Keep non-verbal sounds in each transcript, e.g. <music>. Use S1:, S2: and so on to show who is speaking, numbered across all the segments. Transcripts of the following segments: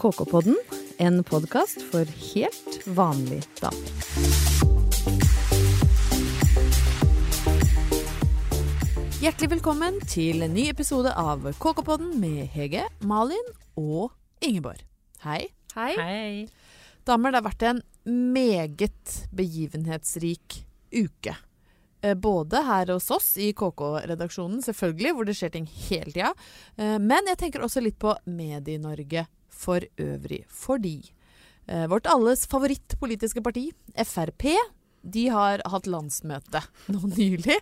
S1: KK-podden, en podkast for helt vanlige damer. Hjertelig velkommen til en ny episode av KK-podden med Hege, Malin og Ingeborg. Hei.
S2: Hei.
S3: Hei.
S1: Damer, det har vært en meget begivenhetsrik uke. Eh, Både her hos oss i KK-redaksjonen, selvfølgelig, hvor det skjer ting hele tida. Eh, Men jeg tenker også litt på Medie-Norge for øvrig. Fordi eh, vårt alles favorittpolitiske parti, Frp, de har hatt landsmøte <laughs> nå nylig.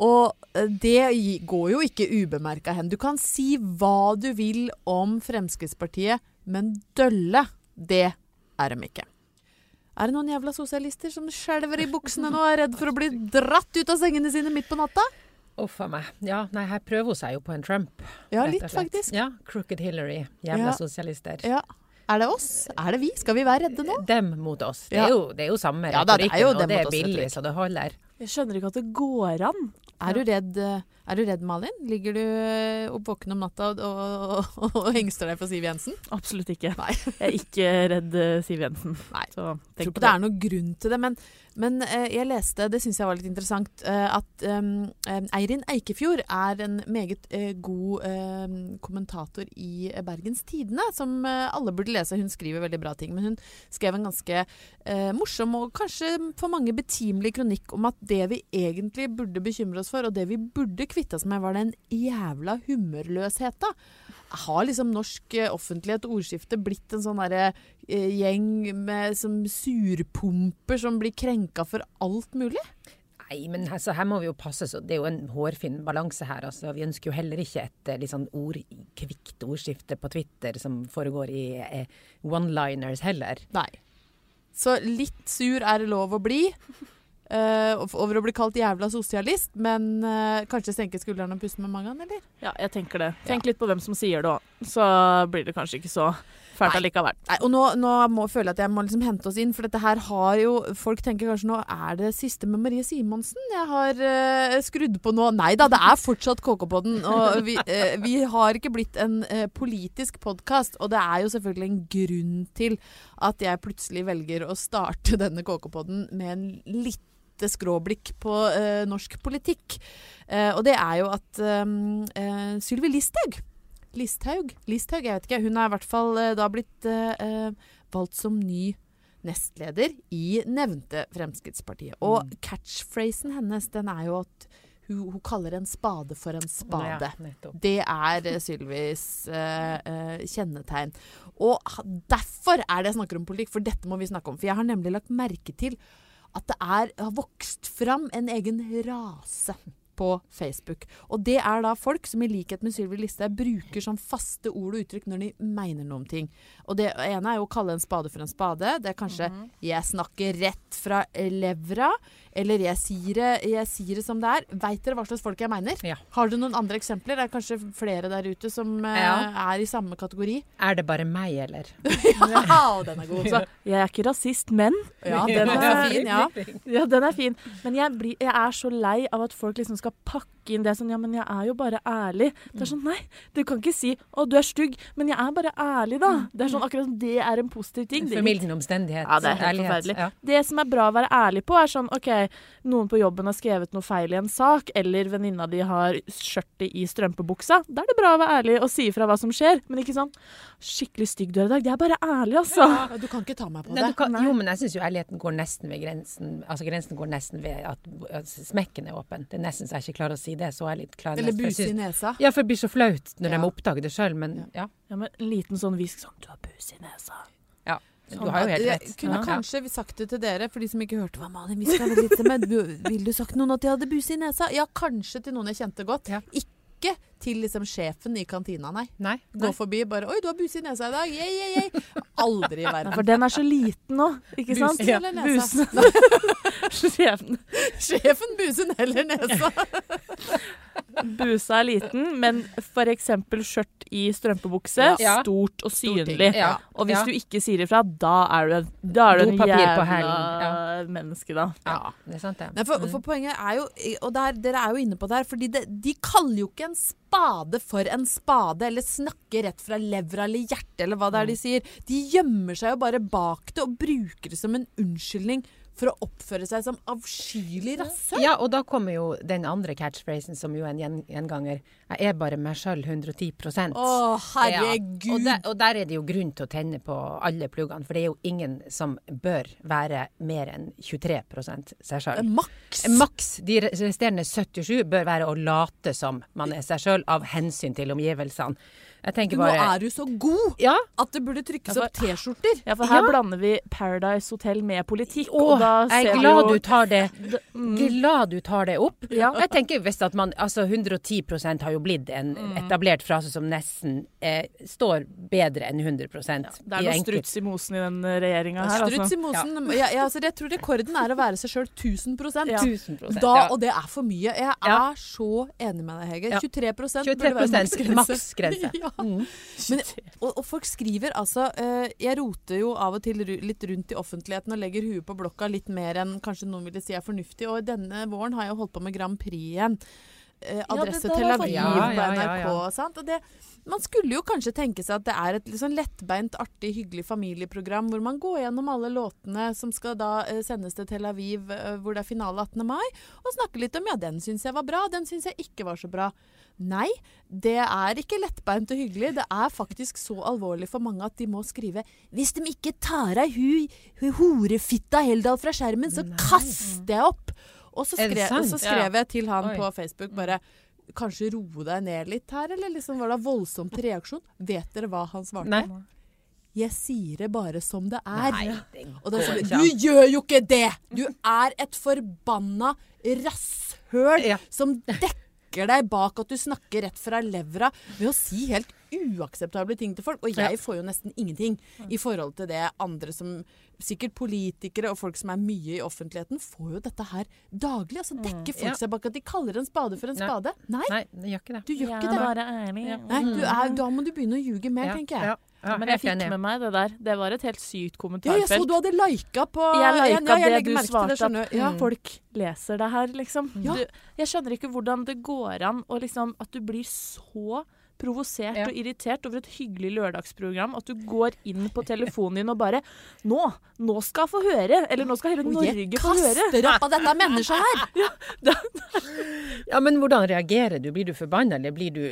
S1: Og eh, det gi- går jo ikke ubemerka hen. Du kan si hva du vil om Fremskrittspartiet, men dølle, det er dem ikke. Er det noen jævla sosialister som skjelver i buksene nå og er redd for å bli dratt ut av sengene sine midt på natta?
S3: Uff a meg. Ja, nei, her prøver hun seg jo på en Trump.
S1: Ja,
S3: rett og
S1: litt
S3: slett.
S1: faktisk.
S3: Ja, Crooked Hillary.
S1: Ja.
S3: Jævla sosialister.
S1: Ja. Er det oss? Er det vi? Skal vi være redde nå?
S3: Dem mot oss. Det
S1: Ja.
S3: er jo, det er jo samme
S1: Ja da, det er jo
S3: og
S1: dem
S3: det
S1: mot
S3: er
S1: oss,
S3: billig,
S1: retorikk.
S3: så det holder.
S2: Jeg skjønner ikke at det går an.
S1: Er du redd, eh, er du redd Malin? Ligger du eh, opp våken om natta og, og, og, og hengster deg for Siv Jensen?
S2: Absolutt ikke.
S1: Nei.
S2: <laughs> Jeg er ikke redd eh, Siv Jensen.
S1: Nei.
S2: Så
S1: Jeg tror
S2: tenk
S1: ikke
S2: på
S1: det
S2: det.
S1: er noen grunn til det, men, men eh, jeg leste, det syns jeg var litt interessant, eh, at em, em, Eirin Eikefjord er en meget eh, god em, kommentator i eh, Bergens Tidende, som eh, alle burde lese. Hun skriver veldig bra ting, men hun skrev en ganske eh, morsom og kanskje for mange betimelig kronikk om at det vi egentlig burde bekymre oss for, og det vi burde kvitte oss med, var den jævla humørløsheta. Har liksom norsk eh, offentlighet og ordskifte blitt en sånn derre eh, gjeng med som surpumper som blir krenka for alt mulig.
S3: Nei, men altså, her må vi jo passe så Det er jo en hårfin balanse her. Altså. Vi ønsker jo heller ikke et eh, litt sånn ord, kvikt ordskifte på Twitter som foregår i eh, one-liners heller.
S1: Nei. Så litt sur er det lov å bli. eh, og- over å bli kalt jævla sosialist, men eh, kanskje senke skuldrene og puste med magen, eller?
S2: Ja, jeg tenker det. Tenk litt på hvem som sier det òg, så blir det kanskje ikke så fælt
S1: Nei.
S2: allikevel.
S1: Nei, og nå, nå må, føler jeg at jeg må liksom hente oss inn, for dette her har jo Folk tenker kanskje nå er det siste med Marie Simonsen jeg har eh, skrudd på nå. Nei da, det er fortsatt KK-podden. Og vi, eh, vi har ikke blitt en eh, politisk podkast, og det er jo selvfølgelig en grunn til at jeg plutselig velger å starte <laughs> denne KK-podden med en lite skråblikk på eh, norsk politikk. Eh, og det er jo at um, eh, Sylvi Listhaug Listhaug? Listhaug, jeg vet ikke. Hun er i hvert fall eh, da blitt eh, eh, valgt som ny nestleder i nevnte Fremskrittspartiet. Og catchphrasen hennes den er jo at hun, hun kaller en spade for en spade.
S3: Ja, nettopp.
S1: Det er eh, Sylvis eh, eh, kjennetegn. Og ha- derfor er det jeg snakker om politikk, for dette må vi snakke om. For jeg har nemlig lagt merke til at det er, har vokst fram en egen rase på Facebook. Og det er da folk som i likhet med Sylvi Listhaug bruker sånn faste ord og uttrykk når de mener noe om ting. Og det ene er jo å kalle en spade for en spade. Det er kanskje 'jeg snakker rett fra levra', eller 'jeg sier det, jeg sier det som det er'. Veit dere hva slags folk jeg mener?
S3: Ja.
S1: Har du noen andre eksempler? Det er kanskje flere der ute som eh,
S3: Ja.
S1: er i samme
S3: <laughs>
S1: kategori.
S3: Er det bare meg, eller?
S1: Ja, den er god. Så,
S2: Jeg er ikke rasist, men
S1: <laughs> ja, den er fin, ja.
S2: Ja, den er fin. Men jeg, blir, jeg er så lei av at folk liksom skal pakke inn det sånn Ja, men jeg er jo bare ærlig. Det er sånn, nei, du kan ikke si 'Å, du er stygg', men jeg er bare ærlig, da. Det er sånn akkurat som det er en positiv ting. Det er ikke
S3: Formildende omstendighet.
S2: Ja, det er helt
S3: ærlighet,
S2: forferdelig.
S3: ja.
S2: Det som er bra å være ærlig på, er sånn OK, noen på jobben har skrevet noe feil i en sak, eller venninna di har skjørtet i strømpebuksa. Da er det bra å være ærlig og si ifra hva som skjer, men ikke sånn 'Skikkelig stygg du er i dag'. Det er bare ærlig, altså.
S1: Ja, Du kan ikke ta meg på
S3: Nei,
S1: det.
S3: du kan, jo, men jeg syns jo ærligheten går nesten ved grensen Altså grensen går nesten ved at, at smekken er åpen. Det er nesten så jeg ikke klarer å si det. Så er jeg litt klar
S1: Eller
S3: nesten, for jeg
S1: buse i
S3: synes-
S1: nesa.
S3: Ja, for det blir så flaut når
S1: Ja.
S3: de oppdager det sjøl, men ja.
S2: Ja, men en liten sånn hvisk sånn 'Du har bus i nesa'.
S3: ja. Du har jo helt
S1: Jeg
S3: rett.
S1: Sånn, kunne
S3: Ja.
S1: kanskje sagt det til dere, for de som ikke hørte hva Malin hviska veldig lite med. Ville du sagt noen at jeg hadde buse i nesa? Ja, kanskje til noen jeg kjente godt.
S3: Ja.
S1: Ikke til liksom sjefen i kantina, nei.
S3: Nei.
S1: Gå
S3: nei.
S1: forbi bare 'Oi, du har buse i nesa i dag'. Yeah, yeah,
S3: <laughs>
S1: yeah. Aldri i verden.
S2: For den er så liten nå, ikke sant? <laughs>
S1: Busen eller nesa? <laughs>
S2: Busen. Skjebnen.
S1: Sjefen, busen eller nesa.
S2: Busa er liten, men f.eks. skjørt i strømpebukse,
S3: Ja.
S2: stort og synlig.
S3: Ja.
S2: Og hvis
S3: Ja.
S2: du ikke sier ifra, da er du en, da er du en
S3: Dopapir på
S2: jævla
S3: hælen,
S2: menneske, da.
S3: Ja, det er sant, det.
S1: Nei, for, for poenget er jo, og der, dere er jo inne på det her, fordi det, de kaller jo ikke en spade for en spade, eller snakker rett fra levra eller hjertet, eller hva det er de sier. De gjemmer seg jo bare bak det og bruker det som en unnskyldning for å oppføre seg som avskyelig rasshøl.
S3: Ja, og da kommer jo den andre catchphrasen, som jo er en gjen- gjenganger. Jeg er bare meg sjøl 110
S1: Å,
S3: Ja. Og,
S1: herregud.
S3: der, og der er det jo grunn til å tenne på alle pluggene, for det er jo ingen som bør være mer enn 23 seg sjøl.
S1: Maks.
S3: Maks de re- resterende 77 bør være å late som man er seg sjøl, av hensyn til omgivelsene. Jeg
S1: Du,
S3: tenker
S1: nå
S3: bare
S1: er du så god
S3: Ja,
S1: at det burde trykkes
S2: Ja, for-
S1: opp T-skjorter.
S2: Ja, for her blander vi Paradise Hotel med politikk,
S3: Å,
S2: og da
S3: jeg
S2: ser
S3: er glad
S2: vi
S3: du
S2: jo
S3: tar det Glad du tar det opp.
S2: Ja.
S3: Jeg tenker hvis at man Altså 110 har jo blitt en etablert frase som nesten eh, står bedre enn 100
S2: Det
S3: i
S2: er noe
S3: enkelt-
S2: struts i mosen i den regjeringa her,
S1: Struts
S2: altså.
S1: i mosen. Ja. Ja, altså, jeg tror rekorden er å være seg sjøl 1000
S2: Ja.
S3: 1000
S1: Da,
S3: ja.
S1: og det er for mye. Jeg er
S3: Ja.
S1: så enig med deg, Hege.
S3: Ja.
S1: 23 burde
S3: 23
S1: være maksgrense.
S3: maksgrense.
S1: <laughs> ja.
S3: Mm.
S1: Men, og, og folk skriver altså eh, Jeg roter jo av og til ru, litt rundt i offentligheten og legger huet på blokka litt mer enn kanskje noen ville si er fornuftig. Og denne våren har jeg holdt på med Grand Prix igjen. Eh,
S2: Ja, det
S1: adresse
S2: der
S1: Tel
S2: har jeg
S1: Aviv
S3: med meg.
S2: fått
S1: på
S3: Ja, ja, ja,
S1: NRK.
S3: ja.
S1: Sant? Og det, man skulle jo kanskje tenke seg at det er et litt sånn lettbeint, artig, hyggelig familieprogram hvor man går gjennom alle låtene som skal da eh, sendes til Tel Aviv, eh, hvor det er finale 18. mai, og snakke litt om ja, den syns jeg var bra, den syns jeg ikke var så bra. Nei, det er ikke lettbeint og hyggelig. Det er faktisk så alvorlig for mange at de må skrive Hvis de ikke tar av hu, hu horefitta Heldal fra skjermen, så kaster jeg opp! Og så
S3: Er det
S1: skrev,
S3: sant?
S1: så skrev jeg til han
S3: Oi.
S1: på Facebook bare Kanskje roe deg ned litt her, eller liksom var det voldsomt reaksjon? Vet dere hva han svarte?
S3: Nei.
S1: Jeg sier det bare som det er.
S3: det
S1: Og da
S3: går
S1: sier
S3: ikke
S1: vi,
S3: an.
S1: Du gjør jo ikke det! Du er et forbanna rasshøl
S3: Ja.
S1: som dekker deg bak at du snakker rett fra levra ved å si helt uakseptable ting til folk. Og jeg får jo nesten ingenting i forhold til det andre som Sikkert politikere og folk som er mye i offentligheten, får jo dette her daglig. Altså dekker folk
S3: ja.
S1: seg bak at de kaller en spade for en
S3: Nei.
S1: spade. Nei,
S3: Nei, det gjør ikke det.
S1: du gjør
S2: Jeg
S1: ikke
S2: er
S1: det.
S2: bare ærlig.
S1: Nei, du er, da må du begynne å ljuge mer,
S3: Ja,
S1: tenker jeg.
S3: ja, ja,
S2: Men jeg
S3: helt
S2: fikk
S3: enig.
S2: med meg det der. Det var et helt sykt
S1: Ja, jeg så
S2: kommentarfelt.
S1: du hadde lika på
S2: Jeg
S1: Ja,
S2: lika
S1: ja, jeg
S2: det
S1: legger merke til
S2: du
S1: det,
S2: svarte
S1: skjønner
S2: at
S1: du. Ja.
S2: folk leser det her, liksom.
S1: Ja.
S2: Du, jeg skjønner ikke hvordan det går an å liksom At du blir så provosert
S3: Ja.
S2: og irritert over et hyggelig lørdagsprogram at du går inn på telefonen din og bare Nå! Nå skal jeg få høre! Eller nå skal hele
S1: Jeg
S2: Norge få høre!
S1: kaster opp av dette mennesket her!
S3: Ja, men hvordan reagerer du? Blir du forbanna, eller blir du,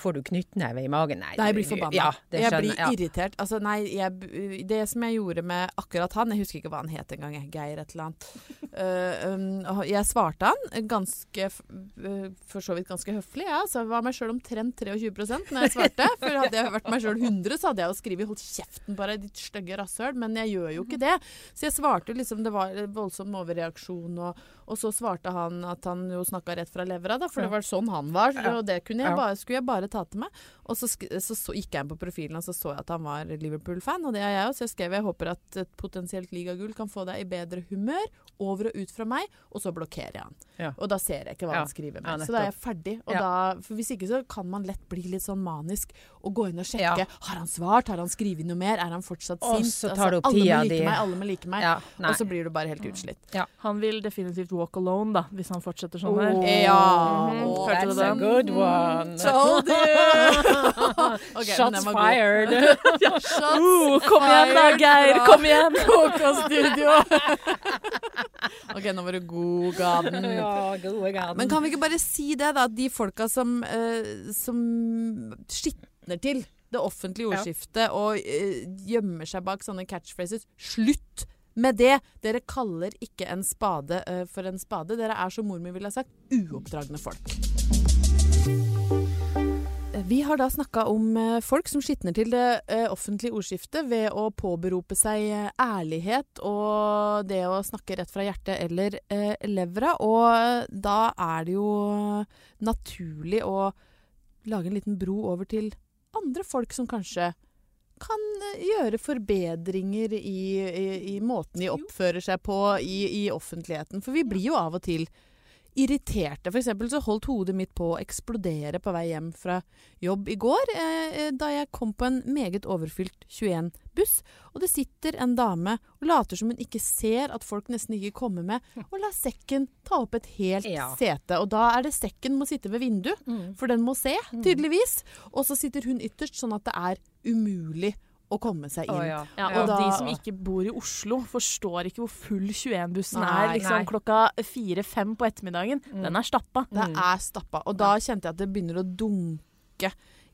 S3: får du knyttneve i magen? Nei,
S1: <laughs> Nei, jeg blir
S3: du-
S1: forbanna.
S3: Ja, det
S1: jeg
S3: skjønner
S1: blir
S3: jeg.
S1: irritert. Altså, nei, jeg, det som jeg gjorde med akkurat han Jeg husker ikke hva han het engang. jeg. Geir et eller annet. <laughs> Eh, um, jeg svarte han ganske f- eh, for så vidt ganske høflig. Ja. Så jeg var meg sjøl omtrent 23 når jeg <laughs> svarte. For hadde jeg vært meg sjøl 100, så hadde jeg jo skrevet 'hold kjeften på deg, ditt stygge rasshøl', men jeg gjør jo ikke det. Så jeg svarte liksom Det var voldsom overreaksjon, og, og så svarte han at han jo snakka rett fra levra, da, for det var sånn han var, og det kunne jeg
S3: Ja.
S1: bare, skulle jeg bare ta til meg. Og så, sk- så, så gikk jeg inn på profilen og så så jeg at han var Liverpool-fan, og det er jeg òg, så jeg skrev jeg håper at et potensielt ligagull kan få deg i bedre humør over og ut fra meg, og så blokkerer jeg han.
S3: Ja.
S1: Og da ser jeg ikke hva
S3: Ja.
S1: han skriver
S3: Ja,
S1: mer. så da er jeg ferdig. Og
S3: Ja.
S1: da, for hvis ikke så kan man lett bli litt sånn manisk og gå inn og sjekke.
S3: Ja.
S1: Har han svart? Har han skrevet noe mer? Er han fortsatt
S3: Og
S1: sint? Altså,
S3: så tar det opp
S1: alle må
S3: tida
S1: like
S3: di.
S1: meg, alle må like meg.
S3: Ja, nei. Mm.
S1: og så blir du bare helt utslitt.
S2: Han vil definitivt walk alone, da, hvis han fortsetter sånn her.
S1: Ja.
S2: Mhm.
S1: Åh,
S2: Hørte du
S3: That's a
S2: den?
S3: good one. <laughs>
S1: Told you! Mm. Ok, men
S3: Shots
S1: den var god. <laughs>
S3: fired.
S1: Shots
S2: Uh, kom igjen da,
S1: fired
S2: Geir!
S1: fra-
S2: Kom igjen!
S1: <laughs>
S3: <laughs>
S1: OK, nå var du god, Gaden.
S3: ja, gode gaden.
S1: Men kan vi ikke bare si det, da? At de folka som, eh, som skitner til det offentlige
S3: Ja.
S1: ordskiftet og eh, gjemmer seg bak sånne catchphrases Slutt med det! Dere kaller ikke en spade eh, for en spade. Dere er, som mor mi ville ha sagt, uoppdragne folk. Vi har da snakka om eh, folk som skitner til det eh, offentlige ordskiftet ved å påberope seg eh, ærlighet og det å snakke rett fra hjertet eller eh, levra. Og eh, da er det jo eh, naturlig å lage en liten bro over til andre folk som kanskje kan eh, gjøre forbedringer i, i, i måten de oppfører seg på i, i offentligheten. For vi blir jo av og til irriterte. For eksempel så holdt hodet mitt på å eksplodere på vei hjem fra jobb i går, eh, da jeg kom på en meget overfylt 21-buss, og det sitter en dame og later som hun ikke ser at folk nesten ikke kommer med, og lar sekken ta opp et helt
S3: Ja.
S1: sete. Og da er det sekken må sitte ved vinduet, for den må se, tydeligvis. Og så sitter hun ytterst, sånn at det er umulig å komme seg inn.
S3: ja.
S2: Ja,
S1: Mm. Ja,
S2: og
S1: da-
S2: de som ikke bor i Oslo, forstår ikke hvor full 21-bussen
S1: Nei,
S2: er liksom
S3: nei.
S2: klokka fire-fem på ettermiddagen. Den er stappa.
S1: Det
S3: Mm.
S1: er stappa. Og da kjente jeg at det begynner å dunke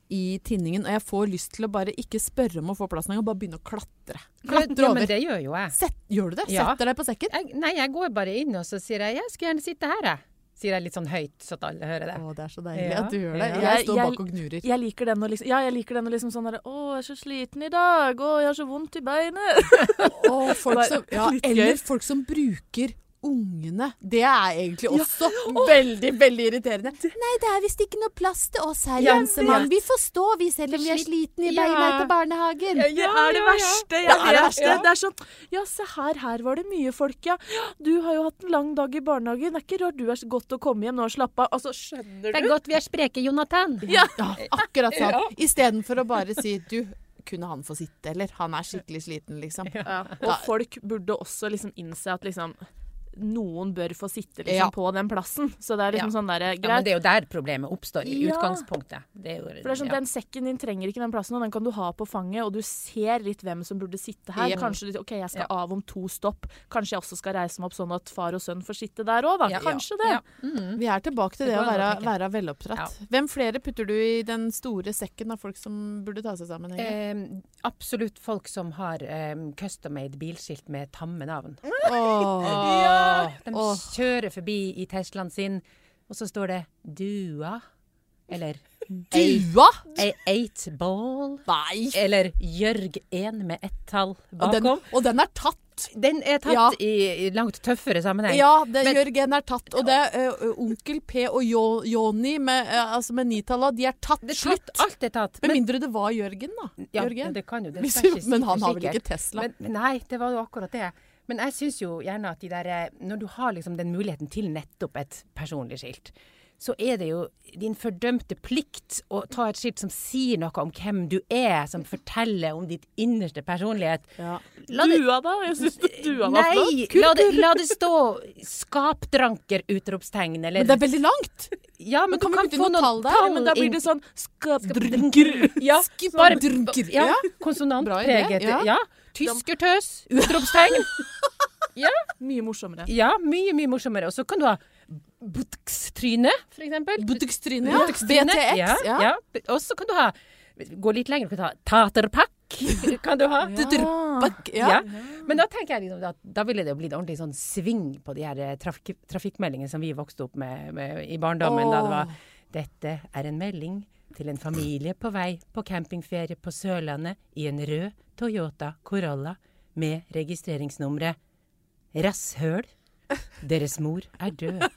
S1: i tinningen. Og jeg får lyst til å bare ikke spørre om å få plass engang, bare begynne å klatre. Klatre
S3: Ja, men
S1: over.
S3: det gjør jo jeg.
S1: Sett, gjør du det?
S3: Ja.
S1: Setter deg på sekken?
S3: jeg. Nei, jeg går bare inn og så sier jeg 'jeg skulle gjerne sitte her', jeg. Sier jeg litt sånn høyt, så at alle hører det.
S1: Å, det er så deilig
S3: Ja.
S1: at du gjør det.
S3: Ja.
S1: Jeg står
S2: Jeg-
S1: bak og gnurer.
S2: Jeg liker den og liksom, ja, jeg liker den og liksom sånn derre Å, jeg er så sliten i dag. Å, jeg har så vondt i beinet.
S1: Å, folk
S2: Bare
S1: som, ja,
S2: litt
S1: eller
S2: gøy.
S1: folk som bruker ungene. Det er egentlig også veldig veldig irriterende. Nei, det er visst ikke noe plass til oss her,
S3: Jeg Jensemann.
S1: Vi forstår, vi, selv om vi er slitne
S3: i beina Ja. etter
S1: barnehagen.
S2: Det er det verste. Jeg
S1: Ja, det er det
S2: vet
S1: verste.
S2: det. Det er sånn Ja, se her, her var det mye folk, ja. Du har jo hatt en lang dag i barnehagen. Det er ikke rart du er så godt å komme hjem nå og slappe av. Altså, skjønner
S3: Det
S2: du?
S3: er godt vi er spreke, Jonathan.
S1: Ja, akkurat sånn.
S3: <laughs> Ja.
S1: Istedenfor å bare si du, kunne han få sitte, eller? Han er skikkelig sliten, liksom.
S2: Ja.
S1: Da-
S2: Og folk burde også liksom innse at liksom noen bør få sitte liksom
S1: Ja.
S2: på den plassen. Så det er liksom
S3: Ja.
S2: sånn derre
S3: Ja, men
S2: greit.
S3: det er jo der problemet oppstår, i
S2: Ja.
S3: utgangspunktet. Det er jo,
S2: For det er sånn,
S3: ja.
S2: Den sekken din trenger ikke den plassen, og den kan du ha på fanget. Og du ser litt hvem som burde sitte her.
S1: Jep.
S2: Kanskje du, ok, jeg skal
S3: Ja.
S2: av om to stopp. Kanskje jeg også skal reise meg opp sånn at far og sønn får sitte der òg, da.
S3: Ja.
S2: Kanskje det.
S3: Ja.
S1: Vi er tilbake til
S3: Mm.
S1: det,
S3: Det
S1: å
S3: går an
S1: være,
S3: å
S1: være
S3: tenke.
S1: veloppdratt. Hvem flere putter du i den store sekken av folk som burde ta seg sammen? Hege?
S3: Ehm, absolutt folk som har ehm, custom-made bilskilt med tamme navn.
S1: Åh. Åh.
S3: De kjører forbi i Teslaen sin, og så står det 'Dua'. Eller
S1: Dua?
S3: «A- Eight Ball.
S1: Nei!
S3: Eller Jørg 1 med ett tall
S1: Og den,
S3: bakom.
S1: og den er tatt.
S3: Den, er tatt
S1: Ja.
S3: i, i langt tøffere sammenheng.
S1: Ja, det,
S3: Men-
S1: Jørgen er tatt. Og det er ø, Onkel P og jo, Joni med, uh, altså med nitalla, de er tatt.
S3: Det er
S1: Slutt!
S3: tatt, alt er tatt.
S1: Med mindre det var Jørgen, da.
S3: ja, ja,
S1: Jørgen.
S3: det kan jo det.
S1: Hvis-
S3: skal jeg ikke si
S1: men
S3: for
S1: han har vel
S3: sikkert.
S1: ikke Tesla?
S3: Men, men nei, det var jo akkurat det. Men jeg syns jo gjerne at de der, eh, når du har liksom den muligheten til nettopp et personlig skilt, så er det jo din fordømte plikt å ta et skilt som sier noe om hvem du er, som forteller om ditt innerste personlighet.
S1: Ja.
S3: La det,
S2: Dua, da? Jeg syns dua var flott.
S3: nei, la det, la det stå 'skapdranker', utropstegn, eller
S1: Men det er veldig langt!
S3: Ja, men
S1: kan
S3: du
S1: vi
S3: kan
S1: putte
S3: få
S1: noen
S3: noen
S1: tall der?
S2: Ja, men da blir
S3: inn-
S2: det sånn skapdrunker.
S3: <laughs> Ja,
S1: Skip-
S3: bare-
S1: drunker.
S3: Ja,
S1: Ja. Bra
S3: konsonantpreget.
S1: idé, ja.
S3: Ja. Tyskertøs, utropstegn.
S2: Mye morsommere.
S3: <laughs> Ja, mye, mye morsommere. Og så kan du ha butx-tryne, for eksempel.
S1: Butux-trynet.
S3: Ja,
S1: Ja.
S3: butx-tryne.
S1: BTX.
S3: Ja,
S1: ja.
S3: ja. Og så kan du ha Gå litt lenger, du kan ta taterpakk. <laughs> Kan du ha.
S1: Bak, ja.
S3: Ja. Men da tenker jeg liksom at da ville det jo blitt ordentlig sånn sving på de her eh, trafik trafikkmeldingene som vi vokste opp med, med i barndommen. Da det
S1: Åh.
S3: var 'Dette er en melding til en familie på vei på campingferie på Sørlandet i en rød Toyota Corolla med registreringsnummeret Rasshøl. Deres mor er <laughs> død.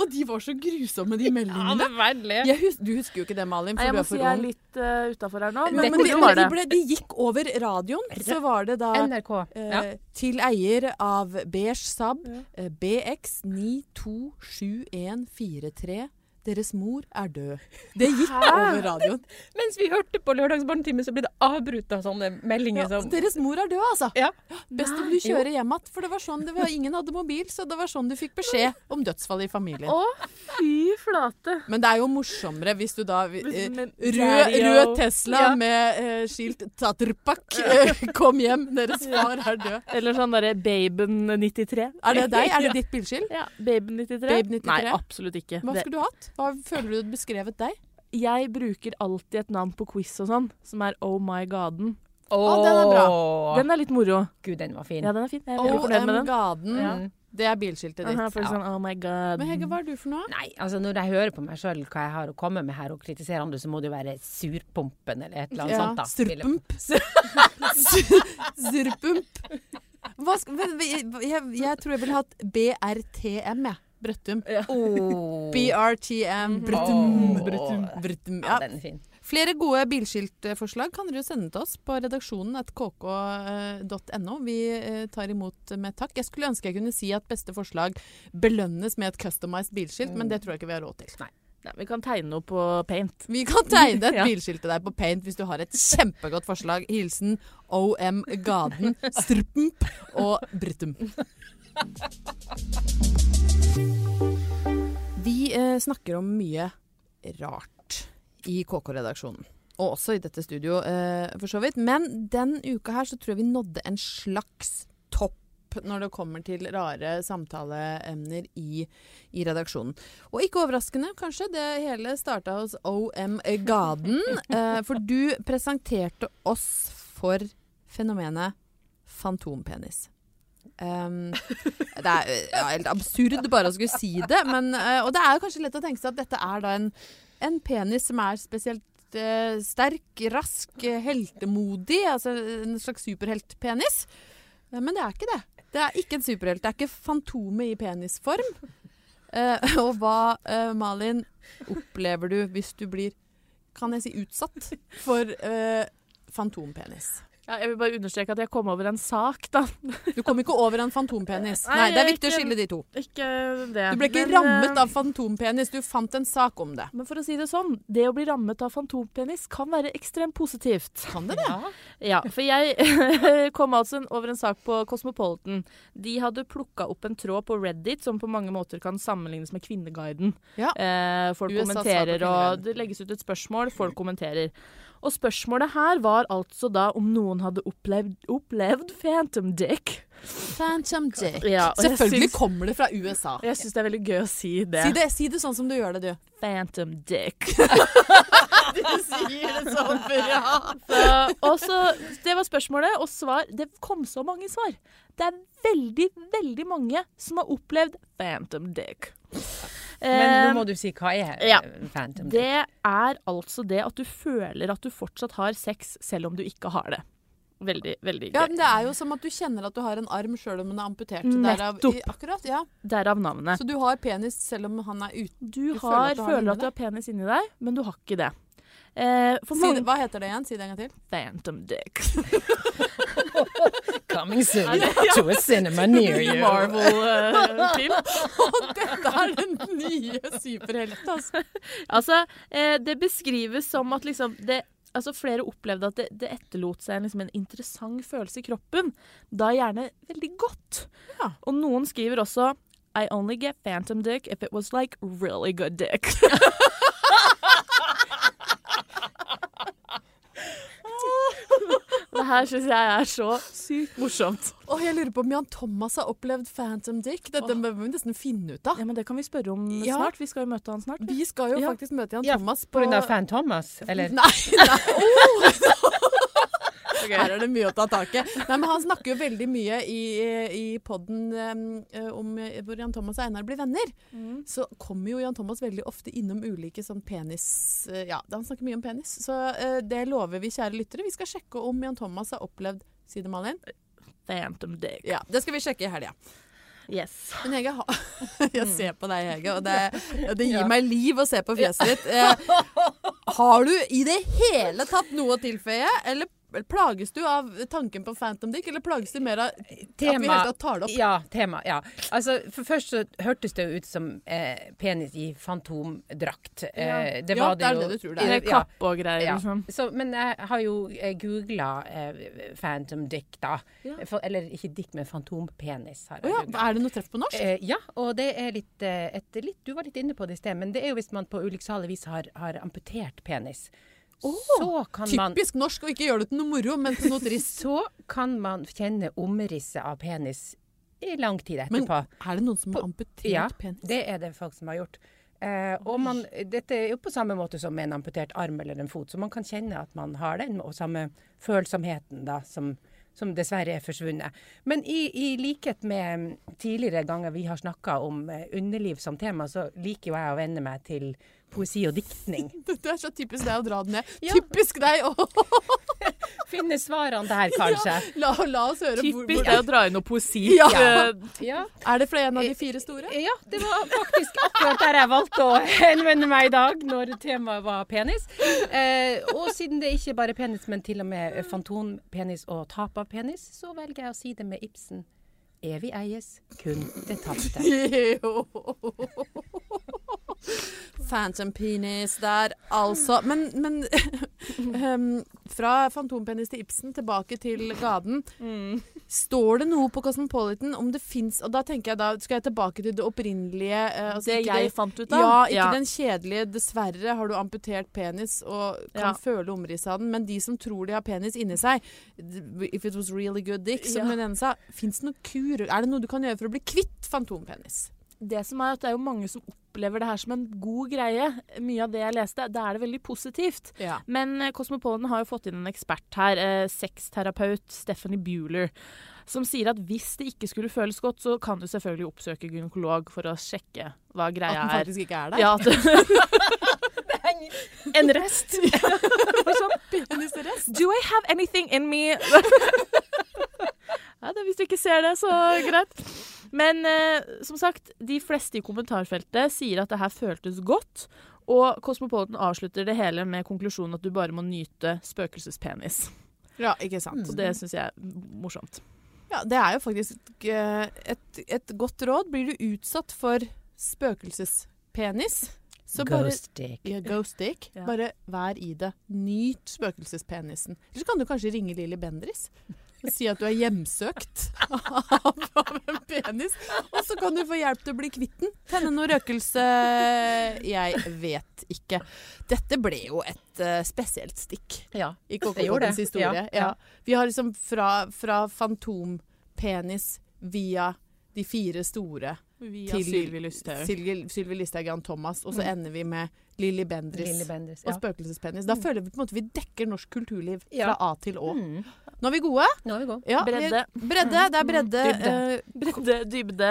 S1: Og de var så grusomme, de meldingene. Jeg hus du husker jo ikke det, Malin.
S2: Nei,
S1: For
S2: jeg
S1: du
S2: må
S1: er
S2: si
S1: for
S2: jeg er
S1: ung.
S2: litt uh, utafor her nå.
S1: Men, men
S3: Dette
S1: de,
S2: var
S1: men de,
S2: det.
S1: ble, de gikk over radioen. Så var det da
S3: NRK. Ja.
S1: eh, til eier av Beige Saab, eh, BX 927143. Deres mor er død. Det gikk over radioen.
S3: Mens vi hørte på Lørdagsbarnetime, så ble det avbrutt av sånne
S1: Ja,
S3: meldinger
S2: sånn.
S3: som
S1: deres mor er død, altså.
S3: ja.
S1: Best om du kjører hjem igjen. For det var sånn det var, ingen hadde mobil, så det var sånn du fikk beskjed om dødsfallet i familien.
S2: Å, fy flate.
S1: Men det er jo morsommere hvis du da eh,
S2: Hvis- men-
S1: rød,
S2: Radio.
S1: rød Tesla
S3: Ja.
S1: med eh, skilt 'Taterpak', eh, kom hjem, deres far er død.
S2: Eller sånn derre Baben 93.
S1: Er det deg? Er det ditt bilskilt?
S2: Ja, Baben 93?
S1: Babe 93.
S2: Nei, absolutt ikke.
S1: Hva
S2: Det,
S1: skulle du hatt? Hva føler du hadde beskrevet deg?
S2: jeg bruker alltid et navn på quiz og sånn, som er Oh my gaden.
S1: Å, den er bra.
S3: Åh,
S2: Den er litt moro.
S3: Gud, den var fin. Mm.
S2: Ja, den er Ah. fin. Oh Jeg er veldig fornøyd
S1: OM
S2: med den.
S1: Gaden.
S2: Ja.
S1: Det er bilskiltet
S2: Den er
S1: ditt.
S3: Ja.
S2: faktisk sånn Oh my god.
S1: Men Hege, hva er du for noe?
S3: Nei, altså når jeg hører på meg sjøl hva jeg har å komme med her, og kritiserer andre, så må det jo være surpompen eller et eller annet sånt. da.
S1: Surpump. <laughs> Surpump. Hva sk men, jeg, jeg, jeg tror jeg ville hatt BRTM, jeg.
S2: Eh.
S1: Brøttum.
S3: Åh,
S1: BRTM.
S3: <laughs> Åh.
S2: Mhm.
S1: Brøttum. Brøttum. Brøttum.
S3: Ja,
S1: Ja.
S3: den er fin.
S1: Flere gode bilskiltforslag kan dere jo sende til oss på redaksjonen at kk.no. Vi eh, tar imot med takk. Jeg skulle ønske jeg kunne si at beste forslag belønnes med et customized bilskilt, men det tror jeg ikke vi har råd til.
S2: Nei, vi kan tegne noe på paint.
S1: Vi kan tegne et
S2: Ja.
S1: bilskilt til deg på Paint hvis du har et kjempegodt forslag. Hilsen OM Gaden, Strpmp og Bruttum. Vi eh, snakker om mye rart i KK-redaksjonen. Og også i dette studio, eh, for så vidt. Men den uka her så tror jeg vi nådde en slags topp når det kommer til rare samtaleemner i, i redaksjonen. Og ikke overraskende, kanskje, det hele starta hos OM Gaden. Eh, for du presenterte oss for fenomenet fantompenis. Ehm, det er eh, ja, helt absurd bare å skulle si det. Men, eh, og det er jo kanskje lett å tenke seg at dette er da en, en penis som er spesielt eh, sterk, rask, eh, heltemodig. Altså en slags superheltpenis. Eh, Men det er ikke det. Det er ikke en superhelt. Det er ikke Fantomet i penisform. Eh, <laughs> og hva, eh, Malin, opplever du hvis du blir, kan jeg si, utsatt for eh, fantompenis?
S2: Ja, jeg vil bare understreke at jeg kom over en sak, da.
S1: Du kom ikke over en fantompenis.
S2: Nei,
S1: Nei, det er
S2: jeg
S1: viktig å
S2: ikke-
S1: skille de to.
S2: Ikke det.
S1: Du ble ikke
S2: Men,
S1: rammet
S2: eh,
S1: av fantompenis, du fant en sak om det.
S2: Men for å si det sånn, det å bli rammet av fantompenis kan være ekstremt positivt.
S1: Kan det det?
S2: Ja, for jeg <laughs> kom altså en- over en sak på Cosmopolitan. De hadde plukka opp en tråd på Reddit som på mange måter kan sammenlignes med Kvinneguiden.
S1: Ja.
S2: Eh, folk
S1: USA svar på
S2: kommenterer,
S1: Kvinneguiden.
S2: og det legges ut et spørsmål, folk kommenterer. Og spørsmålet her var altså da om noen hadde opplevd, opplevd phantom dick.
S1: Phantom dick.
S2: Ja, og jeg
S1: Selvfølgelig
S2: syns-
S1: kommer det fra USA.
S2: Og Jeg syns det er veldig gøy å si det.
S1: Si det, si det sånn som du gjør det, du.
S2: Phantom dick.
S1: <laughs> Du sier det sånn for ja.
S2: Så, og så, det var spørsmålet, og svar Det kom så mange svar. Det er veldig, veldig mange som har opplevd phantom dick.
S3: Men nå
S2: Eh,
S3: må du si hva er
S2: ja.
S3: eh, Phantom Dick?
S2: Det er altså det at du føler at du fortsatt har sex selv om du ikke har det. Veldig, veldig
S1: ja.
S2: gøy.
S1: Men det er jo som at du kjenner at du har en arm sjøl om den er amputert. Derav, i,
S2: Nettopp.
S1: akkurat, ja.
S2: Derav navnet.
S1: Så du har penis selv om han er ute.
S2: Du,
S1: du føler
S2: har,
S1: at du har
S2: føler
S1: det
S2: at du har penis inni deg, men du har ikke det. Eh, for
S1: Si det,
S2: mange
S1: hva heter det igjen? Si det en gang
S2: <laughs>
S1: til.
S2: Phantom dick.
S3: Coming soon <laughs> to a cinema near
S1: <laughs>
S3: you.
S1: eh,
S2: <laughs> Marvel-film.
S1: Dette er den nye superhelten, altså.
S2: Altså, eh, det beskrives som at liksom det Altså, Flere opplevde at det, det etterlot seg en, liksom, en interessant følelse i kroppen. Da gjerne veldig godt.
S1: Ja.
S2: Og noen skriver også I only get phantom dick if it was like really good dick. <laughs> det her syns jeg er så sykt morsomt.
S1: Å, jeg lurer på om Jan Thomas har opplevd Phantom Dick. Dette må vi nesten finne ut av.
S2: Ja, men Det kan vi spørre om
S1: Ja.
S2: snart. Vi skal jo møte han snart.
S1: Vi skal jo
S2: Ja.
S1: faktisk møte Jan
S3: Ja,
S1: Thomas
S3: På
S1: på
S3: grunn av Fan Thomas, eller?
S1: Nei, nei.
S3: <laughs>
S1: Her er det mye å ta tak i. Nei, men Han snakker jo veldig mye i, i poden om eh, hvor Jan Thomas og Einar blir venner.
S3: Mm.
S1: Så kommer jo Jan Thomas veldig ofte innom ulike sånn penis eh, Ja, han snakker mye om penis. Så eh, det lover vi, kjære lyttere. Vi skal sjekke om Jan Thomas har opplevd Si det, Malin?
S2: Phantom dick.
S1: Ja, Det skal vi sjekke i helga.
S2: Yes.
S1: Men Hege, ha- <laughs> jeg ser på deg, Hege, og det, det gir meg liv å se på fjeset ditt. Eh, har du i det hele tatt noe å tilføye, eller plages du av tanken på Phantom Dick, eller plages du mer av at vi helt tatt tar det opp?
S3: Ja, tema, ja. Altså, for først så hørtes det jo ut som eh, penis i fantomdrakt. Eh, det
S1: Ja,
S3: var
S1: det er
S3: det jo.
S1: det du tror det er.
S2: Med
S3: Ja.
S2: kappe og greier,
S3: Ja.
S1: sånn.
S2: liksom.
S3: Så, men jeg har jo eh, googla eh, Phantom Dick, da.
S2: Ja.
S3: For, eller ikke dick, men fantompenis. har
S1: Å
S3: jeg
S1: ja,
S3: googlet.
S1: er det noe treff på norsk?
S3: Eh, ja, og det er litt, eh, et, litt Du var litt inne på det i sted, men det er jo hvis man på ulykksalig vis har, har amputert penis. så kan man
S1: Typisk norsk å ikke gjøre det til noe moro, men til noe trist.
S3: Så kan man kjenne omrisset av penis i lang tid
S1: Men
S3: etterpå.
S1: er det noen som har amputert
S3: ja,
S1: <laughs> penis?
S3: det er det folk som har gjort. Eh, og man, dette er jo på samme måte som med en amputert arm eller en fot, så man kan kjenne at man har den, og samme følsomheten da, som, som dessverre er forsvunnet. Men i, i likhet med mm, tidligere ganger vi har snakka om eh, underliv som tema, så liker jo jeg å venne meg til poesi og diktning.
S1: Det er så typisk deg å <laughs> dra den ned.
S3: Ja.
S1: Typisk deg! å-
S3: finne svarene der, kanskje.
S1: La, la oss høre hvor-
S2: Typisk
S1: hvor
S2: det å dra inn noe poesi.
S1: <laughs> Ja.
S2: Eh,
S3: Ja.
S1: Er det flere en av de fire store?
S3: ja, det var faktisk akkurat der jeg valgte
S2: <laughs>
S3: å henvende meg i dag, når temaet var penis. Eh, og siden det ikke bare er penis, men til og med eh, fantompenis og tap av penis, så velger jeg å si det med Ibsen. Evig eies, kun det tapte.
S1: Jo. <laughs> Phantom penis der, altså. Men, men <laughs> ehm, Fra fantompenis til Ibsen, tilbake til gaden. Står det noe på Cosmopolitan om det fins Og da tenker jeg da skal jeg tilbake til det opprinnelige. eh, altså,
S2: det
S1: ikke
S2: jeg
S1: det-
S2: fant ut av.
S1: ja, ikke den kjedelige 'dessverre har du amputert penis' og kan
S2: Ja.
S1: føle omrisset av den, men de som tror de har penis inni seg If it was really good dick, som
S2: Ja.
S1: hun ene sa. Fins det noen kur? Er det noe du kan gjøre for å bli kvitt fantompenis?
S2: det som er at det er jo mange som opplever det her som en god greie. Mye av det jeg leste, da er det veldig positivt.
S1: Ja.
S2: Men eh, Cosmopolitan har jo fått inn en ekspert her, eh, sexterapeut Stephanie Bueller, som sier at hvis det ikke skulle føles godt, så kan du selvfølgelig oppsøke gynekolog for å sjekke hva
S1: At den
S2: greia er.
S1: faktisk ikke er der?
S2: Ja, at <laughs> En rest. Bare sånn, Do I have anything in <laughs> me? ja, det, hvis du ikke ser det, så greit. Men eh, som sagt, de fleste i kommentarfeltet sier at det her føltes godt. Og Cosmopolitan avslutter det hele med konklusjonen at du bare må nyte spøkelsespenis.
S1: Ja, ikke sant.
S2: Mm. Så det syns jeg er morsomt.
S1: Ja, det er jo faktisk eh, et, et godt råd. Blir du utsatt for spøkelsespenis, så bare
S3: Ghost dick.
S1: ja, Ghost dick.
S2: Ja.
S1: Bare vær i det. Nyt spøkelsespenisen. Eller så kan du kanskje ringe Lilly Bendriss og si at du er hjemsøkt av av en penis. Og så kan du få hjelp til å bli kvitt den. Tenne noe røkelse Jeg vet ikke. Dette ble jo et eh, spesielt stikk
S3: Ja.
S1: i
S3: Det gjorde
S1: Kokkepoddens
S3: det.
S1: historie. Ja.
S3: Ja,
S1: Vi har liksom fra, fra fantompenis via de fire store
S2: Via
S1: til Sylvi- Sylvi Listhaug, Jan Thomas, og så ender vi med Lilly Bendriss.
S3: Lille Mm. Bendriss.
S1: Og
S3: Ja. Mm.
S1: spøkelsespenis. Da føler vi på en måte vi dekker norsk kulturliv
S3: Ja.
S1: fra A til Å.
S3: Mm.
S1: Nå er vi gode.
S3: Nå er vi gode.
S1: Ja, vi-
S2: Bredde.
S1: Bredde. Det er bredde.
S3: Mm.
S1: eh,
S3: Dybde.
S2: Bredde, dybde.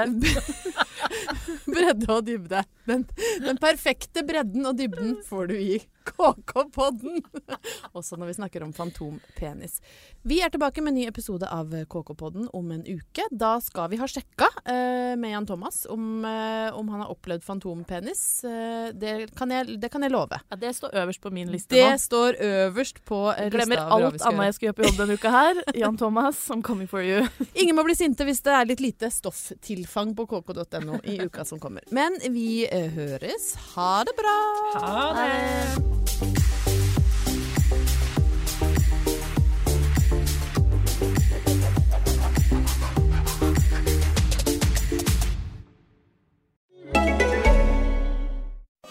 S1: <laughs> bredde og dybde. Den, den perfekte bredden og dybden får du i KK-podden. <laughs> Også når vi snakker om fantompenis. Vi er tilbake med en ny episode av KK-podden om en uke. Da skal vi ha sjekka eh, med Jan Thomas om, eh, om han har opplevd fantompenis. Eh, det, kan jeg, det kan jeg love.
S2: Ja, det står øverst på min liste nå.
S1: Det står øverst på eh,
S2: Jeg
S1: lista.
S2: glemmer
S1: over hva vi
S2: alt
S1: skal gjøre.
S2: annet jeg skal gjøre på jobb denne uka her. Jan Thomas, I'm coming for you.
S1: Ingen må bli sinte hvis det er litt lite stofftilfang på kk.no i uka som kommer. Men vi eh, høres. Ha det bra!
S3: Ha
S2: det.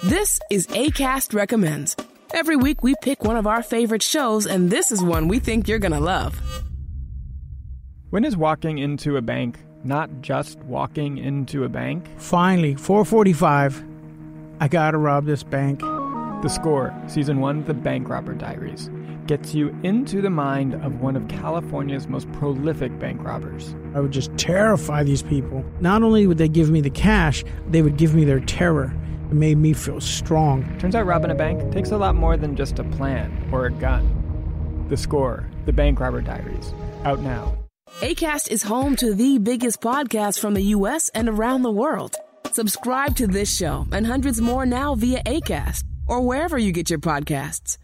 S4: This is ACAST Recommends. Every week we pick one of our favorite shows, and this is one we think you're gonna love.
S5: When is walking into a bank not just walking into a bank?
S6: Finally, 445. I gotta rob this bank.
S5: The Score, Season 1 The Bank Robber Diaries, gets you into the mind of one of California's most prolific bank robbers.
S6: I would just terrify these people. Not only would they give me the cash, they would give me their terror. It made me feel strong.
S5: Turns out robbing a bank takes a lot more than just a plan or a gun. The Score, The Bank Robber Diaries, out now.
S4: ACAST is home to the biggest podcasts from the US and around the world. Subscribe to this show and hundreds more now via ACAST or wherever you get your podcasts.